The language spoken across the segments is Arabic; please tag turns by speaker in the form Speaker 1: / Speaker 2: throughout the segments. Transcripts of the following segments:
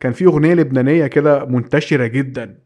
Speaker 1: كان في اغنيه لبنانيه كده منتشره جدا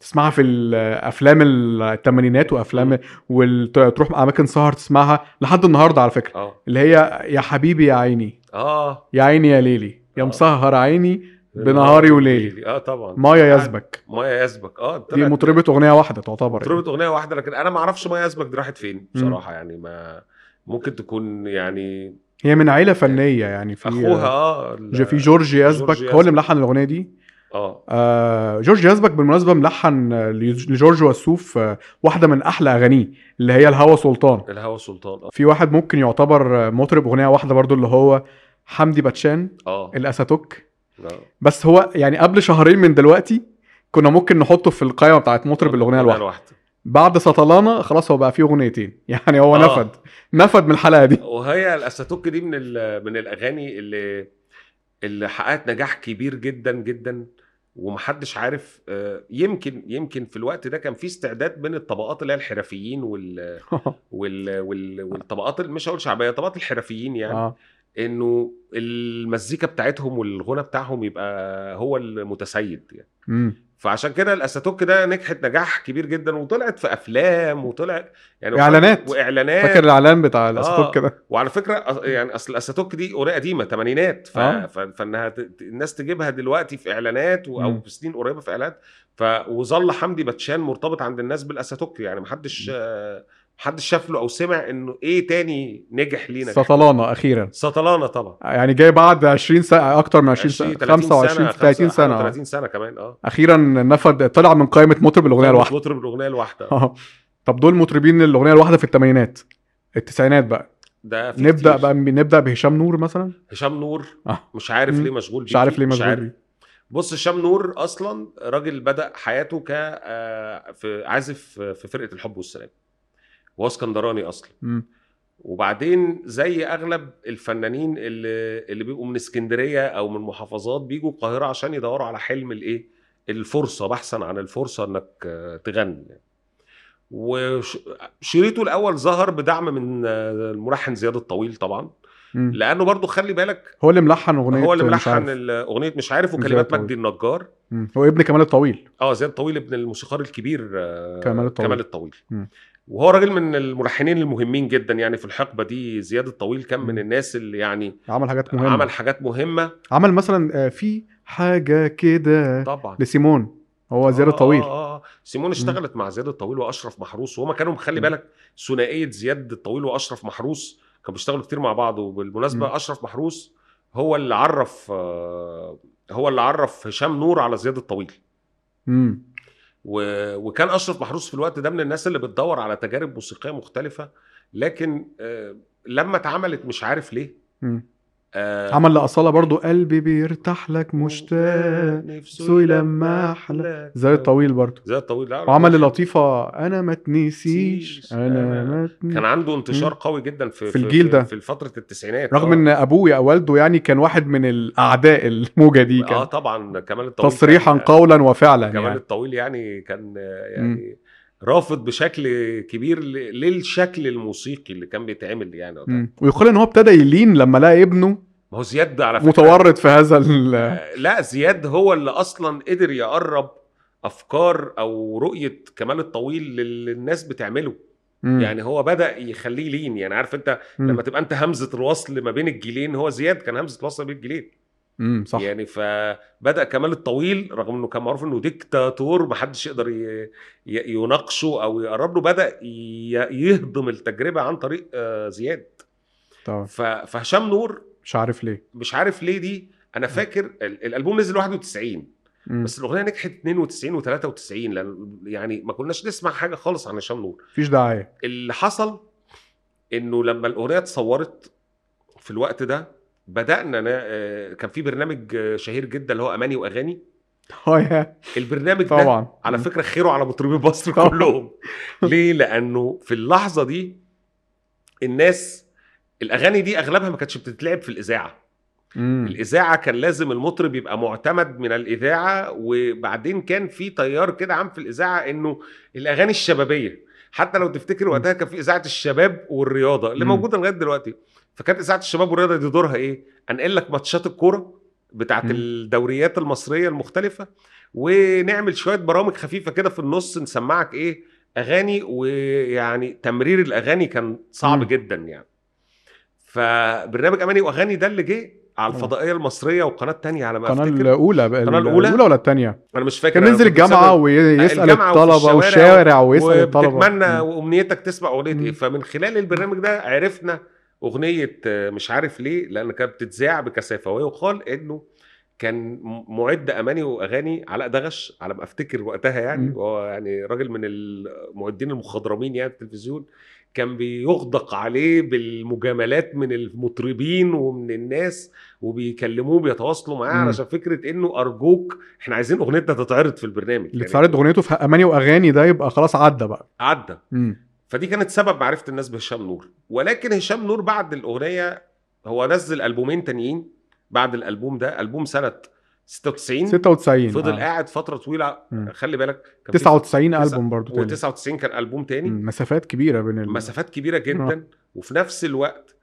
Speaker 1: تسمعها في الافلام الثمانينات وافلام وتروح اماكن سهر تسمعها لحد النهارده على فكره
Speaker 2: اه
Speaker 1: اللي هي يا حبيبي يا عيني
Speaker 2: اه
Speaker 1: يا عيني يا ليلي يا
Speaker 2: آه.
Speaker 1: مسهر عيني بنهاري وليلي
Speaker 2: اه طبعا
Speaker 1: مايا يزبك
Speaker 2: مايا يزبك اه
Speaker 1: دي
Speaker 2: طلعت-
Speaker 1: مطربه اغنيه واحده تعتبر يعني.
Speaker 2: مطربة اغنيه واحده لكن انا ما اعرفش مايا يزبك دي راحت فين بصراحه يعني ما ممكن تكون يعني
Speaker 1: هي من عيله فنيه يعني في
Speaker 2: اخوها اه ال-
Speaker 1: ج- في جورج يزبك
Speaker 2: جورج
Speaker 1: هو اللي
Speaker 2: يزبك.
Speaker 1: ملحن الاغنيه دي
Speaker 2: اه
Speaker 1: آه جورج يزبك بالمناسبه ملحن آه، ليج- لجورج وسوف آه، واحده من احلى اغانيه اللي هي الهوى سلطان
Speaker 2: الهوى سلطان اه
Speaker 1: في واحد ممكن يعتبر آه، مطرب اغنيه واحده برضو اللي هو حمدي باتشان
Speaker 2: اه
Speaker 1: الاساتوك
Speaker 2: آه.
Speaker 1: بس هو يعني قبل شهرين من دلوقتي كنا ممكن نحطه في القائمه بتاعت مطرب الاغنيه الواحده بعد سطلانه خلاص هو بقى فيه اغنيتين يعني هو
Speaker 2: آه.
Speaker 1: نفد نفد من الحلقه دي
Speaker 2: وهي الاساتوك دي من ال- من الاغاني اللي اللي حققت نجاح كبير جدا جدا ومحدش عارف آه، يمكن يمكن في الوقت ده كان في استعداد من الطبقات اللي هي الحرفيين وال وال وال والطبقات ال- مش هقول شعبيه طبقات الحرفيين يعني
Speaker 1: آه.
Speaker 2: انه المزيكا بتاعتهم والغنى بتاعهم يبقى هو المتسيد يعني
Speaker 1: مم.
Speaker 2: فعشان كده الاساتوك ده نجحت نجاح كبير جدا وطلعت في افلام وطلعت يعني
Speaker 1: إعلانات.
Speaker 2: واعلانات
Speaker 1: فاكر الاعلان بتاع الاساتوك
Speaker 2: آه.
Speaker 1: كده
Speaker 2: وعلى فكره أص- يعني اصل الاساتوك دي اغنيه قديمه ثمانينات ف...
Speaker 1: آه.
Speaker 2: ف... فانها ت... ت- الناس تجيبها دلوقتي في اعلانات و... او
Speaker 1: مم.
Speaker 2: في سنين قريبه في اعلانات ف... وظل حمدي باتشان مرتبط عند الناس بالاساتوك يعني محدش آه، محدش شاف له او سمع انه ايه تاني نجح لينا
Speaker 1: سطلانه اخيرا
Speaker 2: سطلانه طبعا
Speaker 1: يعني جاي بعد 20 سنه اكتر من 20 سنه
Speaker 2: 30
Speaker 1: 25 30 سنه آه.
Speaker 2: 30 سنه كمان اه
Speaker 1: اخيرا نفد طلع من قائمه مطرب الاغنيه الواحده
Speaker 2: مطرب الاغنيه الواحده
Speaker 1: آه. طب دول مطربين الاغنيه الواحده في الثمانينات التسعينات بقى
Speaker 2: ده في
Speaker 1: نبدا
Speaker 2: كتير.
Speaker 1: بقى نبدا بهشام نور مثلا
Speaker 2: هشام نور
Speaker 1: آه.
Speaker 2: مش عارف
Speaker 1: مم.
Speaker 2: ليه مشغول
Speaker 1: مش عارف
Speaker 2: بيكي،
Speaker 1: ليه مشغول بيه.
Speaker 2: بص هشام نور اصلا راجل بدا حياته ك آه، في عازف في فرقه الحب والسلام وهو اسكندراني اصلا
Speaker 1: مم.
Speaker 2: وبعدين زي اغلب الفنانين اللي اللي بيبقوا من اسكندريه او من محافظات بيجوا القاهره عشان يدوروا على حلم الايه الفرصه بحثا عن الفرصه انك آه، تغني وشريطه الاول ظهر بدعم من آه، الملحن زياد الطويل طبعا
Speaker 1: مم.
Speaker 2: لانه برضو خلي بالك
Speaker 1: هو اللي ملحن اغنيه
Speaker 2: هو اللي
Speaker 1: مش عارف.
Speaker 2: ملحن ال- اغنيه مش عارف
Speaker 1: زياد
Speaker 2: وكلمات
Speaker 1: طويل.
Speaker 2: مجدي النجار
Speaker 1: مم. هو ابن كمال الطويل
Speaker 2: اه زياد طويل ابن الموسيقار الكبير آه،
Speaker 1: كمال الطويل.
Speaker 2: كمال الطويل
Speaker 1: مم.
Speaker 2: وهو راجل من الملحنين المهمين جدا يعني في الحقبه دي زياد الطويل كان
Speaker 1: مم.
Speaker 2: من الناس اللي يعني
Speaker 1: عمل حاجات مهمه
Speaker 2: مهمة. عمل
Speaker 1: عمل,
Speaker 2: حاجات مهمه
Speaker 1: عمل مثلا آه، في حاجه كده
Speaker 2: طبعا
Speaker 1: لسيمون هو زياد
Speaker 2: آه،
Speaker 1: الطويل
Speaker 2: آه آه. سيمون اشتغلت مع زياد الطويل واشرف محروس وهما كانوا خلي
Speaker 1: مم.
Speaker 2: بالك ثنائيه زياد الطويل واشرف محروس كانوا بيشتغلوا كتير مع بعض وبالمناسبه
Speaker 1: مم.
Speaker 2: اشرف محروس هو اللي عرف آه، هو اللي عرف هشام نور على زياد الطويل
Speaker 1: مم.
Speaker 2: و... وكان اشرف محروس في الوقت ده من الناس اللي بتدور على تجارب موسيقيه مختلفه لكن آه، لما اتعملت مش عارف ليه
Speaker 1: مم.
Speaker 2: آه،
Speaker 1: عمل لاصاله برضو قلبي بيرتاح لك مشتاق
Speaker 2: نفسه
Speaker 1: سوي لما أحلى. زي الطويل برضو
Speaker 2: زي الطويل لا
Speaker 1: وعمل للطيفة انا ما تنسيش
Speaker 2: سيش.
Speaker 1: انا
Speaker 2: أنا-
Speaker 1: ما
Speaker 2: كان
Speaker 1: تنسيش
Speaker 2: عنده انتشار قوي جدا في
Speaker 1: في الجيل ده.
Speaker 2: في فتره التسعينات
Speaker 1: رغم
Speaker 2: آه.
Speaker 1: ان ابويا او والده يعني كان واحد من الاعداء الموجه دي
Speaker 2: اه
Speaker 1: كان
Speaker 2: طبعا كمال الطويل
Speaker 1: تصريحا
Speaker 2: كان-
Speaker 1: قولا وفعلا
Speaker 2: كمال
Speaker 1: يعني
Speaker 2: الطويل يعني كان آه، يعني رافض بشكل كبير ل- للشكل الموسيقي اللي كان بيتعمل يعني وقتها.
Speaker 1: مم. ويقال ان هو ابتدى يلين لما لقى ابنه
Speaker 2: ما هو زياد على فكره
Speaker 1: متورط في هذا ال-
Speaker 2: لا زياد هو اللي اصلا قدر يقرب افكار او رؤيه كمال الطويل للي الناس بتعمله
Speaker 1: مم.
Speaker 2: يعني هو بدا يخليه لين يعني عارف انت
Speaker 1: مم.
Speaker 2: لما تبقى انت همزه الوصل ما بين الجيلين هو زياد كان همزه الوصل بين الجيلين
Speaker 1: مم. صح
Speaker 2: يعني فبدا كمال الطويل رغم انه كان معروف انه ديكتاتور محدش يقدر ي- ي- يناقشه او يقرب له بدا ي- يهضم التجربه عن طريق آه، زياد
Speaker 1: طبعا
Speaker 2: ف- فهشام نور
Speaker 1: مش عارف ليه
Speaker 2: مش عارف ليه دي انا فاكر ال- الالبوم نزل 91
Speaker 1: مم.
Speaker 2: بس الاغنيه نجحت 92 و93 لان يعني ما كناش نسمع حاجه خالص عن هشام نور
Speaker 1: مفيش داعي
Speaker 2: اللي حصل انه لما الاغنيه اتصورت في الوقت ده بدانا نا... آه، كان في برنامج آه، شهير جدا اللي هو اماني واغاني
Speaker 1: اه يا
Speaker 2: البرنامج ده
Speaker 1: طبعا
Speaker 2: على
Speaker 1: مم.
Speaker 2: فكره خيره على مطربي مصر
Speaker 1: طبعاً.
Speaker 2: كلهم ليه لانه في اللحظه دي الناس الاغاني دي اغلبها ما كانتش بتتلعب في الاذاعه
Speaker 1: مم.
Speaker 2: الاذاعه كان لازم المطرب يبقى معتمد من الاذاعه وبعدين كان في تيار كده عام في الاذاعه انه الاغاني الشبابيه حتى لو تفتكر وقتها كان في اذاعه الشباب والرياضه اللي
Speaker 1: مم.
Speaker 2: إيه؟ موجوده لغايه دلوقتي فكانت اذاعه الشباب والرياضه دي دورها ايه؟ انقل لك ماتشات الكوره بتاعت
Speaker 1: مم.
Speaker 2: الدوريات المصريه المختلفه ونعمل شويه برامج خفيفه كده في النص نسمعك ايه اغاني ويعني تمرير الاغاني كان صعب
Speaker 1: مم.
Speaker 2: جدا يعني فبرنامج اماني واغاني ده اللي جه على
Speaker 1: آه.
Speaker 2: الفضائيه المصريه وقناه تانية على ما
Speaker 1: القناه
Speaker 2: افتكر
Speaker 1: الاولى بقى
Speaker 2: القناة الأولى؟
Speaker 1: الاولى ولا الثانيه
Speaker 2: انا مش فاكر
Speaker 1: كان
Speaker 2: أنا
Speaker 1: ينزل
Speaker 2: كنت بسمع
Speaker 1: الجامعه ويسال
Speaker 2: الجامعة وفي
Speaker 1: الطلبه والشوارع ويسال الطلبه
Speaker 2: وبتتمنى
Speaker 1: مم.
Speaker 2: وامنيتك تسمع اغنيه
Speaker 1: مم.
Speaker 2: ايه فمن خلال البرنامج ده عرفنا اغنيه آه، مش عارف ليه لان كانت بتتذاع بكثافه ويقال انه كان م- معد اماني واغاني علاء دغش على ما افتكر وقتها يعني
Speaker 1: مم.
Speaker 2: وهو يعني راجل من المعدين المخضرمين يعني في التلفزيون كان بيغدق عليه بالمجاملات من المطربين ومن الناس وبيكلموه بيتواصلوا معاه
Speaker 1: مم.
Speaker 2: علشان فكره انه ارجوك احنا عايزين اغنيتنا تتعرض في البرنامج يعني
Speaker 1: اللي اتعرض اغنيته في اماني واغاني ده يبقى خلاص عدى بقى
Speaker 2: عدى
Speaker 1: مم.
Speaker 2: فدي كانت سبب معرفه الناس بهشام نور ولكن هشام نور بعد الاغنيه هو نزل البومين تانيين بعد الالبوم ده البوم سنه 96
Speaker 1: 96
Speaker 2: فضل
Speaker 1: آه.
Speaker 2: قاعد فتره طويله
Speaker 1: مم.
Speaker 2: خلي بالك كان في-
Speaker 1: 99
Speaker 2: تسعة-
Speaker 1: البوم برضو تاني
Speaker 2: و99 كان البوم تاني
Speaker 1: مم. مسافات كبيره بين ال... آه.
Speaker 2: مسافات كبيره جدا وفي نفس الوقت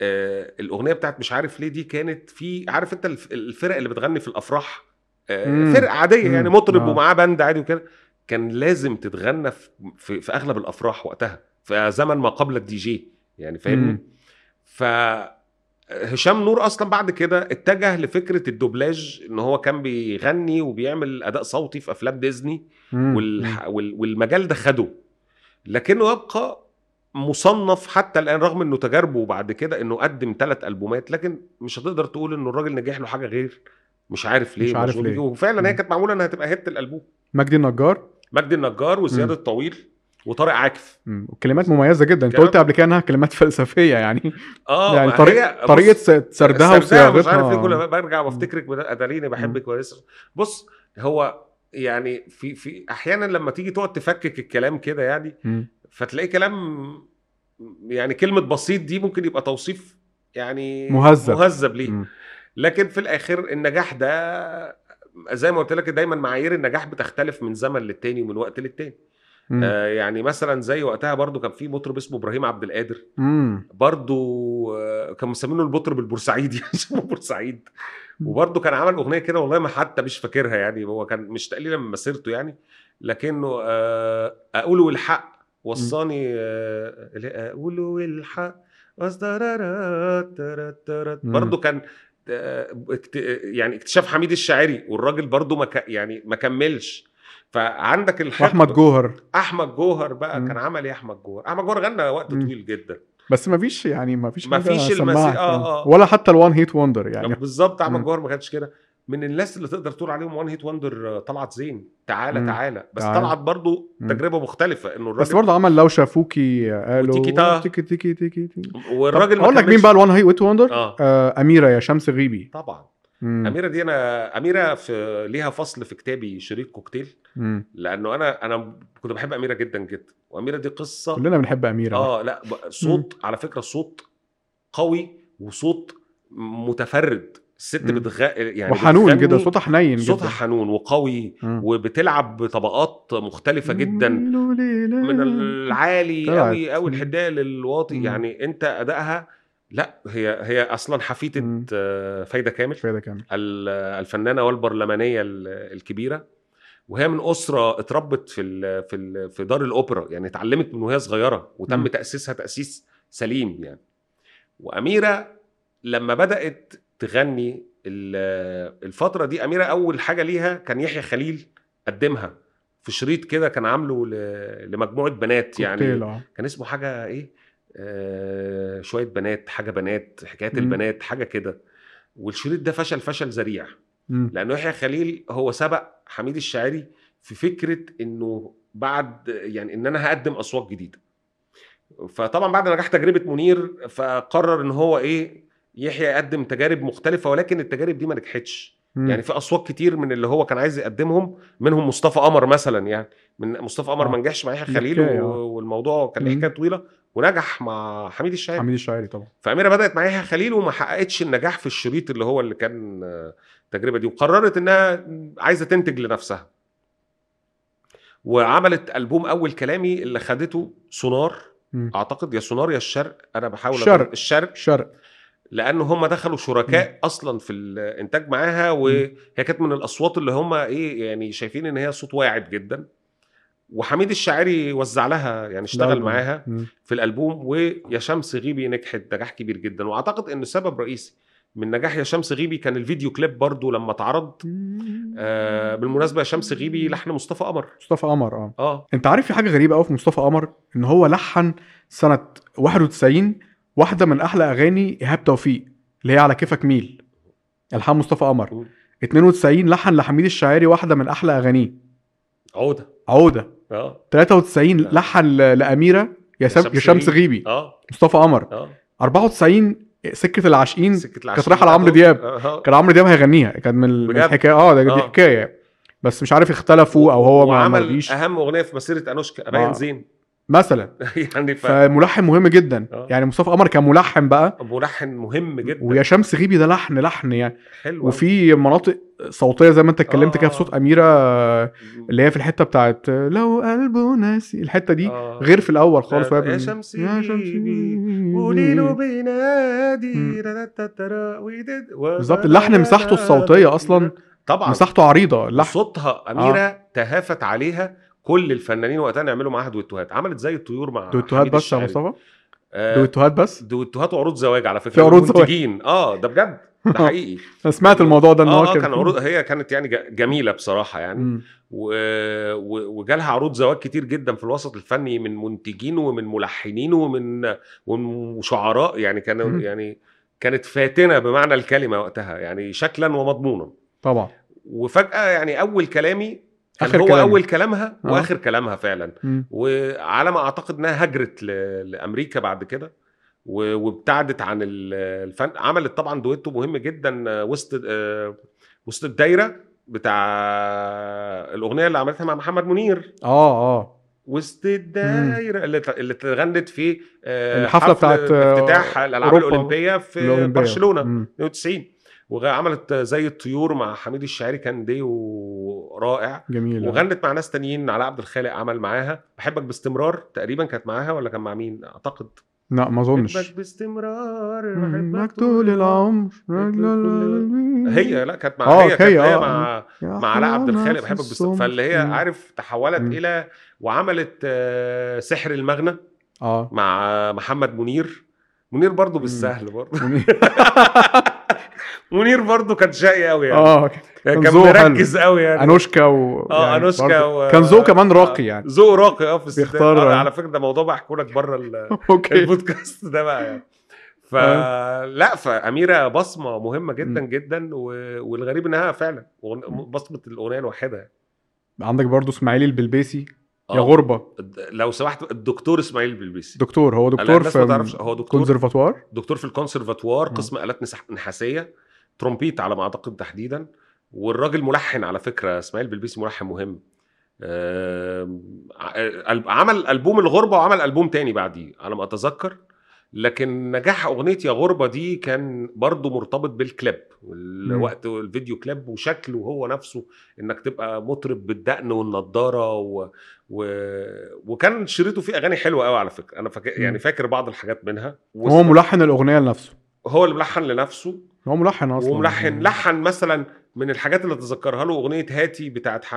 Speaker 2: آه الاغنيه بتاعت مش عارف ليه دي كانت في عارف انت الف- الفرق اللي بتغني في الافراح آه
Speaker 1: مم.
Speaker 2: فرقه عاديه
Speaker 1: مم.
Speaker 2: يعني مطرب
Speaker 1: آه.
Speaker 2: ومعاه باند عادي وكده كان لازم تتغنى في, في, في اغلب الافراح وقتها في زمن ما قبل الدي جي يعني فاهمني
Speaker 1: مم.
Speaker 2: ف هشام نور اصلا بعد كده اتجه لفكره الدوبلاج ان هو كان بيغني وبيعمل اداء صوتي في افلام ديزني
Speaker 1: مم. مم.
Speaker 2: والح... وال... والمجال ده خده لكنه يبقى مصنف حتى الان رغم انه تجاربه بعد كده انه قدم ثلاث البومات لكن مش هتقدر تقول انه الراجل نجح له حاجه غير مش عارف ليه
Speaker 1: مش عارف
Speaker 2: مشغول
Speaker 1: ليه.
Speaker 2: بيه. وفعلا هي
Speaker 1: مم.
Speaker 2: كانت معموله انها هتبقى هيت الالبوم
Speaker 1: مجدي النجار
Speaker 2: مجدي النجار وزياد
Speaker 1: مم.
Speaker 2: الطويل وطارق عاكف
Speaker 1: مم. كلمات مميزه جدا انت
Speaker 2: كلام-
Speaker 1: قلت قبل كده انها كلمات فلسفيه يعني
Speaker 2: اه
Speaker 1: يعني
Speaker 2: ما
Speaker 1: طريقه
Speaker 2: هي-
Speaker 1: طريقه
Speaker 2: بص،
Speaker 1: س- سردها
Speaker 2: سردها مش عارف ليه كل
Speaker 1: وصياغتها
Speaker 2: ما برجع وافتكرك اداليني بحبك ولسه بص هو يعني في في احيانا لما تيجي تقعد تفكك الكلام كده يعني
Speaker 1: مم.
Speaker 2: فتلاقي كلام يعني كلمة بسيط دي ممكن يبقى توصيف يعني
Speaker 1: مهذب.
Speaker 2: مهذب ليه
Speaker 1: مم.
Speaker 2: لكن في الآخر النجاح ده زي ما قلت لك دايما معايير النجاح بتختلف من زمن للتاني ومن وقت للتاني
Speaker 1: مم.
Speaker 2: آه يعني مثلا زي وقتها برضو كان في مطرب اسمه ابراهيم عبد القادر
Speaker 1: مم.
Speaker 2: برضو آه كانوا مسمينه المطرب البورسعيدي عشان هو بورسعيد
Speaker 1: مم.
Speaker 2: وبرضو كان عمل اغنيه كده والله ما حتى مش فاكرها يعني هو كان مش تقليلا من مسيرته يعني لكنه آه اقوله الحق وصاني آه اللي هي اقوله الحق
Speaker 1: مم.
Speaker 2: برضه كان آه، اكت- يعني اكتشاف حميد الشاعري والراجل برضه ما ك- يعني ما كملش فعندك الحقبة-
Speaker 1: واحمد جوهر
Speaker 2: احمد جوهر بقى
Speaker 1: مم.
Speaker 2: كان عمل ايه احمد جوهر احمد جوهر غنى وقت
Speaker 1: مم.
Speaker 2: طويل جدا
Speaker 1: بس مفيش يعني مفيش حاجة
Speaker 2: مفيش المسي-
Speaker 1: سماعة
Speaker 2: آه،
Speaker 1: يعني.
Speaker 2: آه.
Speaker 1: ولا حتى الوان هيت وندر
Speaker 2: يعني
Speaker 1: يعني
Speaker 2: بالظبط احمد
Speaker 1: مم.
Speaker 2: جوهر ما كانش كده من الناس اللي تقدر تقول عليهم وان هيت وندر آه، طلعت زين تعالى
Speaker 1: مم.
Speaker 2: تعالى بس
Speaker 1: تعالى.
Speaker 2: طلعت برضه
Speaker 1: مم.
Speaker 2: تجربه مختلفه انه الراجل
Speaker 1: بس برضه عمل لو شافوكي قالوا
Speaker 2: وتيكي تا.
Speaker 1: تيكي تيكي تيكي تيكي
Speaker 2: والراجل
Speaker 1: طب
Speaker 2: ما
Speaker 1: اقول لك مين
Speaker 2: كملش.
Speaker 1: بقى الوان هيت وندر
Speaker 2: اه
Speaker 1: آه اميره يا شمس غيبي
Speaker 2: طبعا
Speaker 1: مم.
Speaker 2: اميره دي انا اميره في ليها فصل في كتابي شريط كوكتيل
Speaker 1: مم.
Speaker 2: لانه انا انا كنت بحب اميره جدا جدا واميره دي قصه
Speaker 1: كلنا بنحب اميره
Speaker 2: اه لا ب- صوت على فكره صوت قوي وصوت متفرد الست
Speaker 1: مم.
Speaker 2: بتغ... يعني
Speaker 1: وحنون
Speaker 2: بتغني-
Speaker 1: جدا صوتها حنين
Speaker 2: صوتها
Speaker 1: جدا
Speaker 2: حنون وقوي
Speaker 1: مم.
Speaker 2: وبتلعب بطبقات مختلفه جدا من العالي
Speaker 1: طلعت.
Speaker 2: قوي قوي الحدايه للواطي
Speaker 1: مم.
Speaker 2: يعني انت ادائها لا هي هي اصلا حفيده
Speaker 1: مم.
Speaker 2: آه، فايده كامل
Speaker 1: مش فايده كامل
Speaker 2: ال- الفنانه والبرلمانيه ال- الكبيره وهي من اسره اتربت في ال في ال في دار الاوبرا يعني اتعلمت من وهي صغيره وتم
Speaker 1: مم.
Speaker 2: تاسيسها تاسيس سليم يعني واميره لما بدات تغني ال- الفتره دي اميره اول حاجه ليها كان يحيى خليل قدمها في شريط كده كان عامله ل- لمجموعه بنات يعني
Speaker 1: كوكتيل، آه.
Speaker 2: كان اسمه حاجه ايه آه شويه بنات حاجه بنات حكايات
Speaker 1: مم.
Speaker 2: البنات حاجه كده والشريط ده فشل فشل ذريع
Speaker 1: مم.
Speaker 2: لانه يحيى خليل هو سبق حميد الشاعري في فكره انه بعد يعني ان انا هقدم اصوات جديده فطبعا بعد نجاح تجربه منير فقرر ان هو ايه يحيى يقدم تجارب مختلفه ولكن التجارب دي ما نجحتش
Speaker 1: مم.
Speaker 2: يعني في اصوات كتير من اللي هو كان عايز يقدمهم منهم مصطفى قمر مثلا يعني من مصطفى قمر
Speaker 1: آه.
Speaker 2: ما نجحش مع يحيى خليل
Speaker 1: الحكاية،
Speaker 2: و-
Speaker 1: آه.
Speaker 2: والموضوع كان ليه
Speaker 1: مم.
Speaker 2: حكايه طويله ونجح مع حميد الشاعري
Speaker 1: حميد الشاعري طبعا
Speaker 2: فاميره بدات مع يحيى خليل وما حققتش النجاح في الشريط اللي هو اللي كان آه، التجربه دي وقررت انها عايزه تنتج لنفسها وعملت البوم اول كلامي اللي خدته سونار
Speaker 1: مم.
Speaker 2: آه. اعتقد يا سونار يا الشرق انا بحاول أجرب-
Speaker 1: الشرق.
Speaker 2: الشرق
Speaker 1: الشرق
Speaker 2: لان هم دخلوا شركاء اصلا في الانتاج معاها وهي كانت من الاصوات اللي هم ايه يعني شايفين ان هي صوت واعد جدا وحميد الشاعري وزع لها يعني اشتغل
Speaker 1: لا،
Speaker 2: معاها
Speaker 1: مم.
Speaker 2: في الالبوم ويا شمس غيبي نجحت نجاح كبير جدا واعتقد انه سبب رئيسي من نجاح يا شمس غيبي كان الفيديو كليب برضو لما اتعرض آه بالمناسبه يا شمس غيبي لحن مصطفى قمر
Speaker 1: مصطفى قمر اه
Speaker 2: اه
Speaker 1: انت عارف في حاجه غريبه قوي في مصطفى قمر ان هو لحن سنه 91 واحده من احلى اغاني ايهاب توفيق اللي هي على كيفك ميل الحان مصطفى قمر
Speaker 2: مم.
Speaker 1: 92 لحن لحميد الشاعري واحده من احلى اغانيه
Speaker 2: عوده
Speaker 1: عوده
Speaker 2: اه
Speaker 1: 93 لحن ل- لاميره يا سب- يا شمس غيبي
Speaker 2: اه
Speaker 1: مصطفى قمر
Speaker 2: اه
Speaker 1: 94 سكه العاشقين
Speaker 2: سكه
Speaker 1: كانت
Speaker 2: العشرين
Speaker 1: رايحه لعمرو
Speaker 2: بتاعته.
Speaker 1: دياب
Speaker 2: آه.
Speaker 1: كان عمرو دياب هيغنيها كانت من من
Speaker 2: بجد؟
Speaker 1: الحكايه اه ده دي
Speaker 2: آه.
Speaker 1: حكايه بس مش عارف اختلفوا او هو ما ما
Speaker 2: وعمل
Speaker 1: رضيش
Speaker 2: اهم اغنيه في مسيره انوشكا ابين
Speaker 1: آه.
Speaker 2: زين
Speaker 1: مثلا
Speaker 2: يعني ف...
Speaker 1: فملحن مهم جدا
Speaker 2: آه.
Speaker 1: يعني مصطفى قمر كان ملحن بقى
Speaker 2: ملحن مهم جدا
Speaker 1: ويا شمس غيبي ده لحن لحن يعني
Speaker 2: حلو
Speaker 1: وفي مناطق صوتيه زي ما انت اتكلمت كده في صوت
Speaker 2: آه.
Speaker 1: اميره
Speaker 2: أوي.
Speaker 1: اللي هي في الحته بتاعت لو قلبه ناسي الحته دي
Speaker 2: آه.
Speaker 1: غير في الاول خالص
Speaker 2: آه.
Speaker 1: وهي
Speaker 2: يا
Speaker 1: بال-
Speaker 2: شمس
Speaker 1: يا شمس
Speaker 2: غيبي،
Speaker 1: غيبي.
Speaker 2: قولي له
Speaker 1: مم.
Speaker 2: بينادي رتتترا ويدد و-
Speaker 1: بالظبط، اللحن مساحته الصوتية أصلا
Speaker 2: طبعا
Speaker 1: مساحته عريضه اللحن
Speaker 2: صوتها اميره آه. تهافت عليها كل الفنانين وقتها يعملوا معاها دويتوهات عملت زي الطيور مع
Speaker 1: دويتوهات
Speaker 2: حميد
Speaker 1: بس يا
Speaker 2: الشاعري.
Speaker 1: مصطفى
Speaker 2: يعني آه،
Speaker 1: دويتوهات بس
Speaker 2: دويتوهات وعروض زواج على فكره
Speaker 1: في عروض زواج.
Speaker 2: منتجين. اه ده بجد ده حقيقي
Speaker 1: انا سمعت الموضوع ده ان هو
Speaker 2: اه آه، كان عروض هي كانت يعني ج- جميله بصراحه يعني
Speaker 1: مم.
Speaker 2: و... و... وجالها عروض زواج كتير جدا في الوسط الفني من منتجين ومن ملحنين ومن ومن شعراء يعني كانوا
Speaker 1: مم.
Speaker 2: يعني كانت فاتنه بمعنى الكلمه وقتها يعني شكلا ومضمونا
Speaker 1: طبعا
Speaker 2: وفجاه يعني اول كلامي كان
Speaker 1: آخر
Speaker 2: هو
Speaker 1: كلامي.
Speaker 2: اول كلامها
Speaker 1: آه.
Speaker 2: واخر كلامها فعلا
Speaker 1: مم.
Speaker 2: وعلى ما اعتقد انها هجرت ل... لامريكا بعد كده و... وابتعدت عن ال- الفن عملت طبعا دويتو مهم جدا آه، وسط آه، وسط الدايره بتاع الاغنيه اللي عملتها مع محمد منير
Speaker 1: اه اه
Speaker 2: وسط الدايره اللي ت- اللي اتغنت في آه،
Speaker 1: الحفلة
Speaker 2: حفل
Speaker 1: بتاعت، آه،
Speaker 2: افتتاح الالعاب
Speaker 1: أوروبا.
Speaker 2: الاولمبيه في
Speaker 1: الأولمبية.
Speaker 2: برشلونه
Speaker 1: مم.
Speaker 2: 92 وعملت زي الطيور مع حميد الشاعري كان ديو رائع
Speaker 1: جميل
Speaker 2: وغنت مع ناس تانيين علاء عبد الخالق عمل معاها بحبك باستمرار تقريبا كانت معاها ولا كان مع مين اعتقد
Speaker 1: لا ما اظنش
Speaker 2: بحبك باستمرار
Speaker 1: بحبك طول العمر
Speaker 2: هي لا كانت مع
Speaker 1: آه،
Speaker 2: هي
Speaker 1: هي،
Speaker 2: كانت هي
Speaker 1: آه.
Speaker 2: مع مع علاء عبد الخالق بحبك باستمرار فاللي هي عارف تحولت
Speaker 1: مم.
Speaker 2: الى وعملت آه، سحر المغنى
Speaker 1: اه
Speaker 2: مع آه، محمد منير منير برضه
Speaker 1: مم.
Speaker 2: بالسهل برضه
Speaker 1: منير.
Speaker 2: منير برضه كان شقي قوي يعني
Speaker 1: اه
Speaker 2: كان
Speaker 1: ذوقه حلو.
Speaker 2: مركز قوي يعني
Speaker 1: انوشكا و
Speaker 2: اه
Speaker 1: يعني
Speaker 2: انوشكا
Speaker 1: برضه.
Speaker 2: و... آه.
Speaker 1: كان ذوقه كمان راقي يعني
Speaker 2: ذوق راقي اه في الستات.
Speaker 1: بيختار-
Speaker 2: آه، على فكره ده موضوع بحكي لك بره ال-
Speaker 1: اوكي
Speaker 2: البودكاست ده بقى يعني
Speaker 1: آه.
Speaker 2: فلا فاميره بصمه مهمه جدا جدا و... والغريب انها فعلا أغن- بصمه الاغنيه الواحده
Speaker 1: عندك برضو اسماعيل البلبيسي يا
Speaker 2: آه.
Speaker 1: غربه
Speaker 2: الد- لو سمحت الدكتور اسماعيل بلبيسي
Speaker 1: دكتور هو
Speaker 2: لا،
Speaker 1: دكتور
Speaker 2: الناس ما تعرفش
Speaker 1: في
Speaker 2: هو دكتور
Speaker 1: كونسرفاتوار
Speaker 2: دكتور في الكونسرفاتوار
Speaker 1: مم.
Speaker 2: قسم الات نسح- نحاسيه ترومبيت على ما اعتقد تحديدا والراجل ملحن على فكره اسماعيل بلبيسي ملحن مهم آم، ع- أل- عمل البوم الغربه وعمل البوم تاني بعديه على ما اتذكر لكن نجاح اغنيه يا غربه دي كان برضه مرتبط بالكليب الوقت الفيديو كليب وشكله هو نفسه انك تبقى مطرب بالدقن والنضاره و... و... وكان شريطه فيه اغاني حلوه قوي على فكره انا فاكر يعني
Speaker 1: مم.
Speaker 2: فاكر بعض الحاجات منها
Speaker 1: هو ملحن الاغنيه لنفسه
Speaker 2: هو اللي ملحن لنفسه
Speaker 1: هو ملحن يعني اصلا
Speaker 2: وملحن لحن مثلا من الحاجات اللي اتذكرها له اغنيه هاتي بتاعت ح-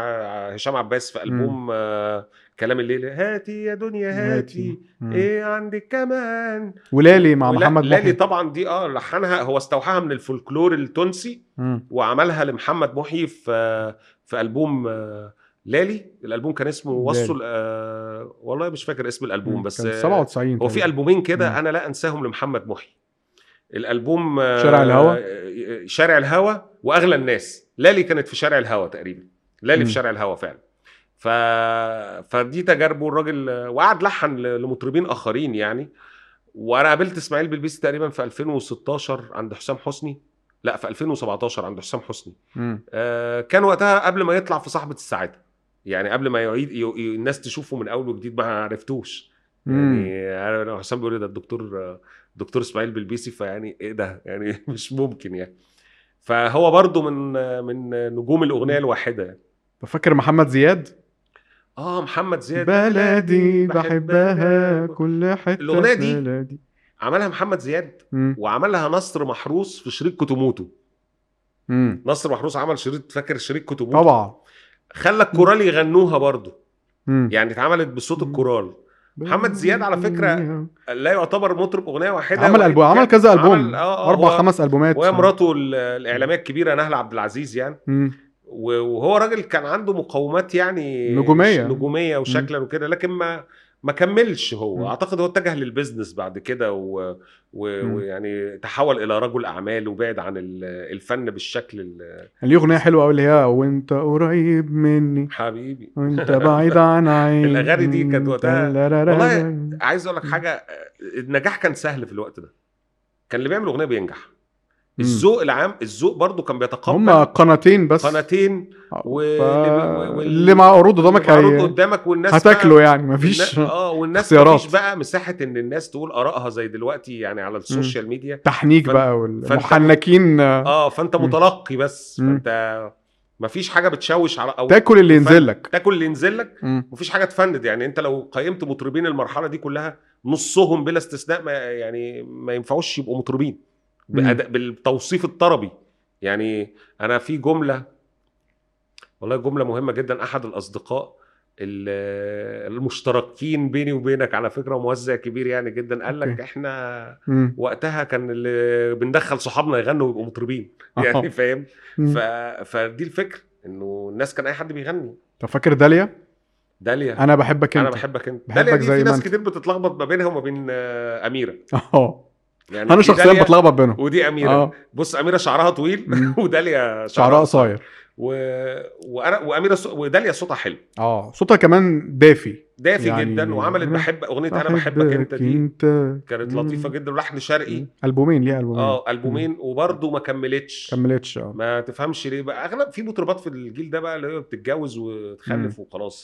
Speaker 2: هشام عباس في البوم آه كلام الليل هاتي يا دنيا هاتي
Speaker 1: مم.
Speaker 2: ايه عندك كمان
Speaker 1: ولالي مع
Speaker 2: ولا-
Speaker 1: محمد
Speaker 2: لالي
Speaker 1: محي
Speaker 2: طبعا دي اه لحنها هو استوحاها من الفولكلور التونسي
Speaker 1: مم.
Speaker 2: وعملها لمحمد محي في آه، في البوم آه لالي الالبوم كان اسمه
Speaker 1: لالي.
Speaker 2: وصل آه والله مش فاكر اسم الالبوم بس
Speaker 1: كان
Speaker 2: آه،
Speaker 1: 97
Speaker 2: هو في
Speaker 1: تقريباً.
Speaker 2: البومين كده
Speaker 1: مم.
Speaker 2: انا لا انساهم لمحمد محي الالبوم آه،
Speaker 1: شارع الهوى؟
Speaker 2: آه، شارع الهوى واغلى الناس لالي كانت في شارع الهوى تقريبا لالي في
Speaker 1: مم.
Speaker 2: شارع الهوى فعلا ف... فدي تجاربه الراجل آه، وقعد لحن ل- لمطربين اخرين يعني وانا قابلت اسماعيل بلبيسي تقريبا في 2016 عند حسام حسني لا في 2017 عند حسام حسني
Speaker 1: مم.
Speaker 2: آه، كان وقتها قبل ما يطلع في صاحبه السعاده يعني قبل ما يعيد ي... ي... الناس تشوفه من اول وجديد ما عرفتوش
Speaker 1: مم.
Speaker 2: يعني انا أنا حسام بيقول لي ده الدكتور دكتور اسماعيل بلبيسي فيعني ايه ده يعني مش ممكن يعني فهو برضو من من نجوم الاغنيه الواحده يعني.
Speaker 1: فاكر محمد زياد
Speaker 2: اه محمد زياد
Speaker 1: بلدي بحبها كل حته
Speaker 2: الأغنية دي
Speaker 1: بلدي
Speaker 2: عملها محمد زياد
Speaker 1: مم.
Speaker 2: وعملها نصر محروس في شريط كوتوموتو
Speaker 1: مم.
Speaker 2: نصر محروس عمل شريط فاكر شريط كوتوموتو
Speaker 1: طبعا
Speaker 2: خلى الكورال يغنوها برضه
Speaker 1: مم.
Speaker 2: يعني اتعملت بصوت الكورال محمد زياد على فكرة لا يعتبر مطرب اغنيه واحده
Speaker 1: عمل
Speaker 2: وإن
Speaker 1: ألبوم عمل
Speaker 2: كان-
Speaker 1: كذا
Speaker 2: عمل-
Speaker 1: ألبوم
Speaker 2: آه، آه،
Speaker 1: أربع
Speaker 2: هو-
Speaker 1: خمس ألبومات
Speaker 2: وهي مراته ال- الاعلاميه الكبيره نهله عبد العزيز يعني
Speaker 1: مم.
Speaker 2: و- وهو راجل كان عنده مقومات يعني
Speaker 1: نجومية.
Speaker 2: نجوميه وشكلا وكده لكن ما ما كملش هو
Speaker 1: مم.
Speaker 2: اعتقد هو اتجه للبيزنس بعد كده و- و-
Speaker 1: مم.
Speaker 2: ويعني تحول الى رجل اعمال وبعد عن ال- الفن بالشكل ال-
Speaker 1: ليه أغنية حلوة أوي اللي هي وأنت قريب مني
Speaker 2: حبيبي
Speaker 1: وأنت بعيد عن عيني
Speaker 2: الأغاني دي كانت وقتها-
Speaker 1: تلارارارا.
Speaker 2: والله عايز اقول لك
Speaker 1: مم.
Speaker 2: حاجه النجاح كان سهل في الوقت ده كان اللي بيعمل اغنيه بينجح
Speaker 1: مم.
Speaker 2: الذوق العام الذوق برضو كان
Speaker 1: هما
Speaker 2: بيتقبل
Speaker 1: قناتين بس آه،
Speaker 2: قناتين
Speaker 1: ف...
Speaker 2: واللي بي-
Speaker 1: اللي مع عروض قدامك
Speaker 2: معروض
Speaker 1: هي...
Speaker 2: قدامك والناس بقى-
Speaker 1: هتاكله يعني مفيش
Speaker 2: والنا- اه والناس
Speaker 1: اختيارات.
Speaker 2: مفيش بقى مساحه ان الناس تقول ارائها زي دلوقتي يعني على السوشيال ميديا
Speaker 1: تحنيك
Speaker 2: فن-
Speaker 1: بقى آه، والمحنكين
Speaker 2: اه فانت
Speaker 1: مم.
Speaker 2: متلقي بس
Speaker 1: مم.
Speaker 2: فانت مفيش حاجه بتشوش على او
Speaker 1: تاكل اللي
Speaker 2: فن-
Speaker 1: ينزل لك
Speaker 2: تاكل اللي ينزل لك
Speaker 1: مم.
Speaker 2: مفيش حاجه تفند يعني انت لو قيمت مطربين المرحله دي كلها نصهم بلا استثناء ما يعني ما ينفعوش يبقوا مطربين بأداء بالتوصيف الطربي يعني انا في جمله والله جمله مهمه جدا احد الاصدقاء ال- المشتركين بيني وبينك على فكره وموزع كبير يعني جدا قال لك
Speaker 1: أوكي.
Speaker 2: احنا
Speaker 1: مم.
Speaker 2: وقتها كان اللي بندخل صحابنا يغنوا ويبقوا مطربين يعني
Speaker 1: أهو.
Speaker 2: فاهم
Speaker 1: آه. مم.
Speaker 2: ف... فدي الفكره انه الناس كان اي حد بيغني
Speaker 1: طب فاكر داليا
Speaker 2: داليا
Speaker 1: انا بحبك انت
Speaker 2: انا بحبك انت
Speaker 1: بحبك
Speaker 2: داليا دي
Speaker 1: زي
Speaker 2: في
Speaker 1: ما
Speaker 2: ناس
Speaker 1: انت.
Speaker 2: كتير بتتلخبط ما بينها وما بين آه، اميره
Speaker 1: اه
Speaker 2: يعني
Speaker 1: انا
Speaker 2: دي داليا
Speaker 1: شخصيا بتلخبط بينهم
Speaker 2: ودي اميره
Speaker 1: اه
Speaker 2: بص اميره شعرها طويل
Speaker 1: مم.
Speaker 2: وداليا
Speaker 1: شعرها قصير
Speaker 2: و... وأنا... واميره صو... وداليا صوتها حلو
Speaker 1: اه صوتها كمان دافي
Speaker 2: دافي
Speaker 1: يعني
Speaker 2: يعني جدا وعملت
Speaker 1: أنا
Speaker 2: بحب اغنيه انا بحبك انت دي
Speaker 1: انت
Speaker 2: كانت
Speaker 1: مم.
Speaker 2: لطيفه جدا ولحن شرقي
Speaker 1: البومين ليها البومين
Speaker 2: اه البومين وبرده ما كملتش
Speaker 1: كملتش اه
Speaker 2: ما تفهمش ليه بقى اغلب في مطربات في الجيل ده بقى اللي هي بتتجوز وتخلف وخلاص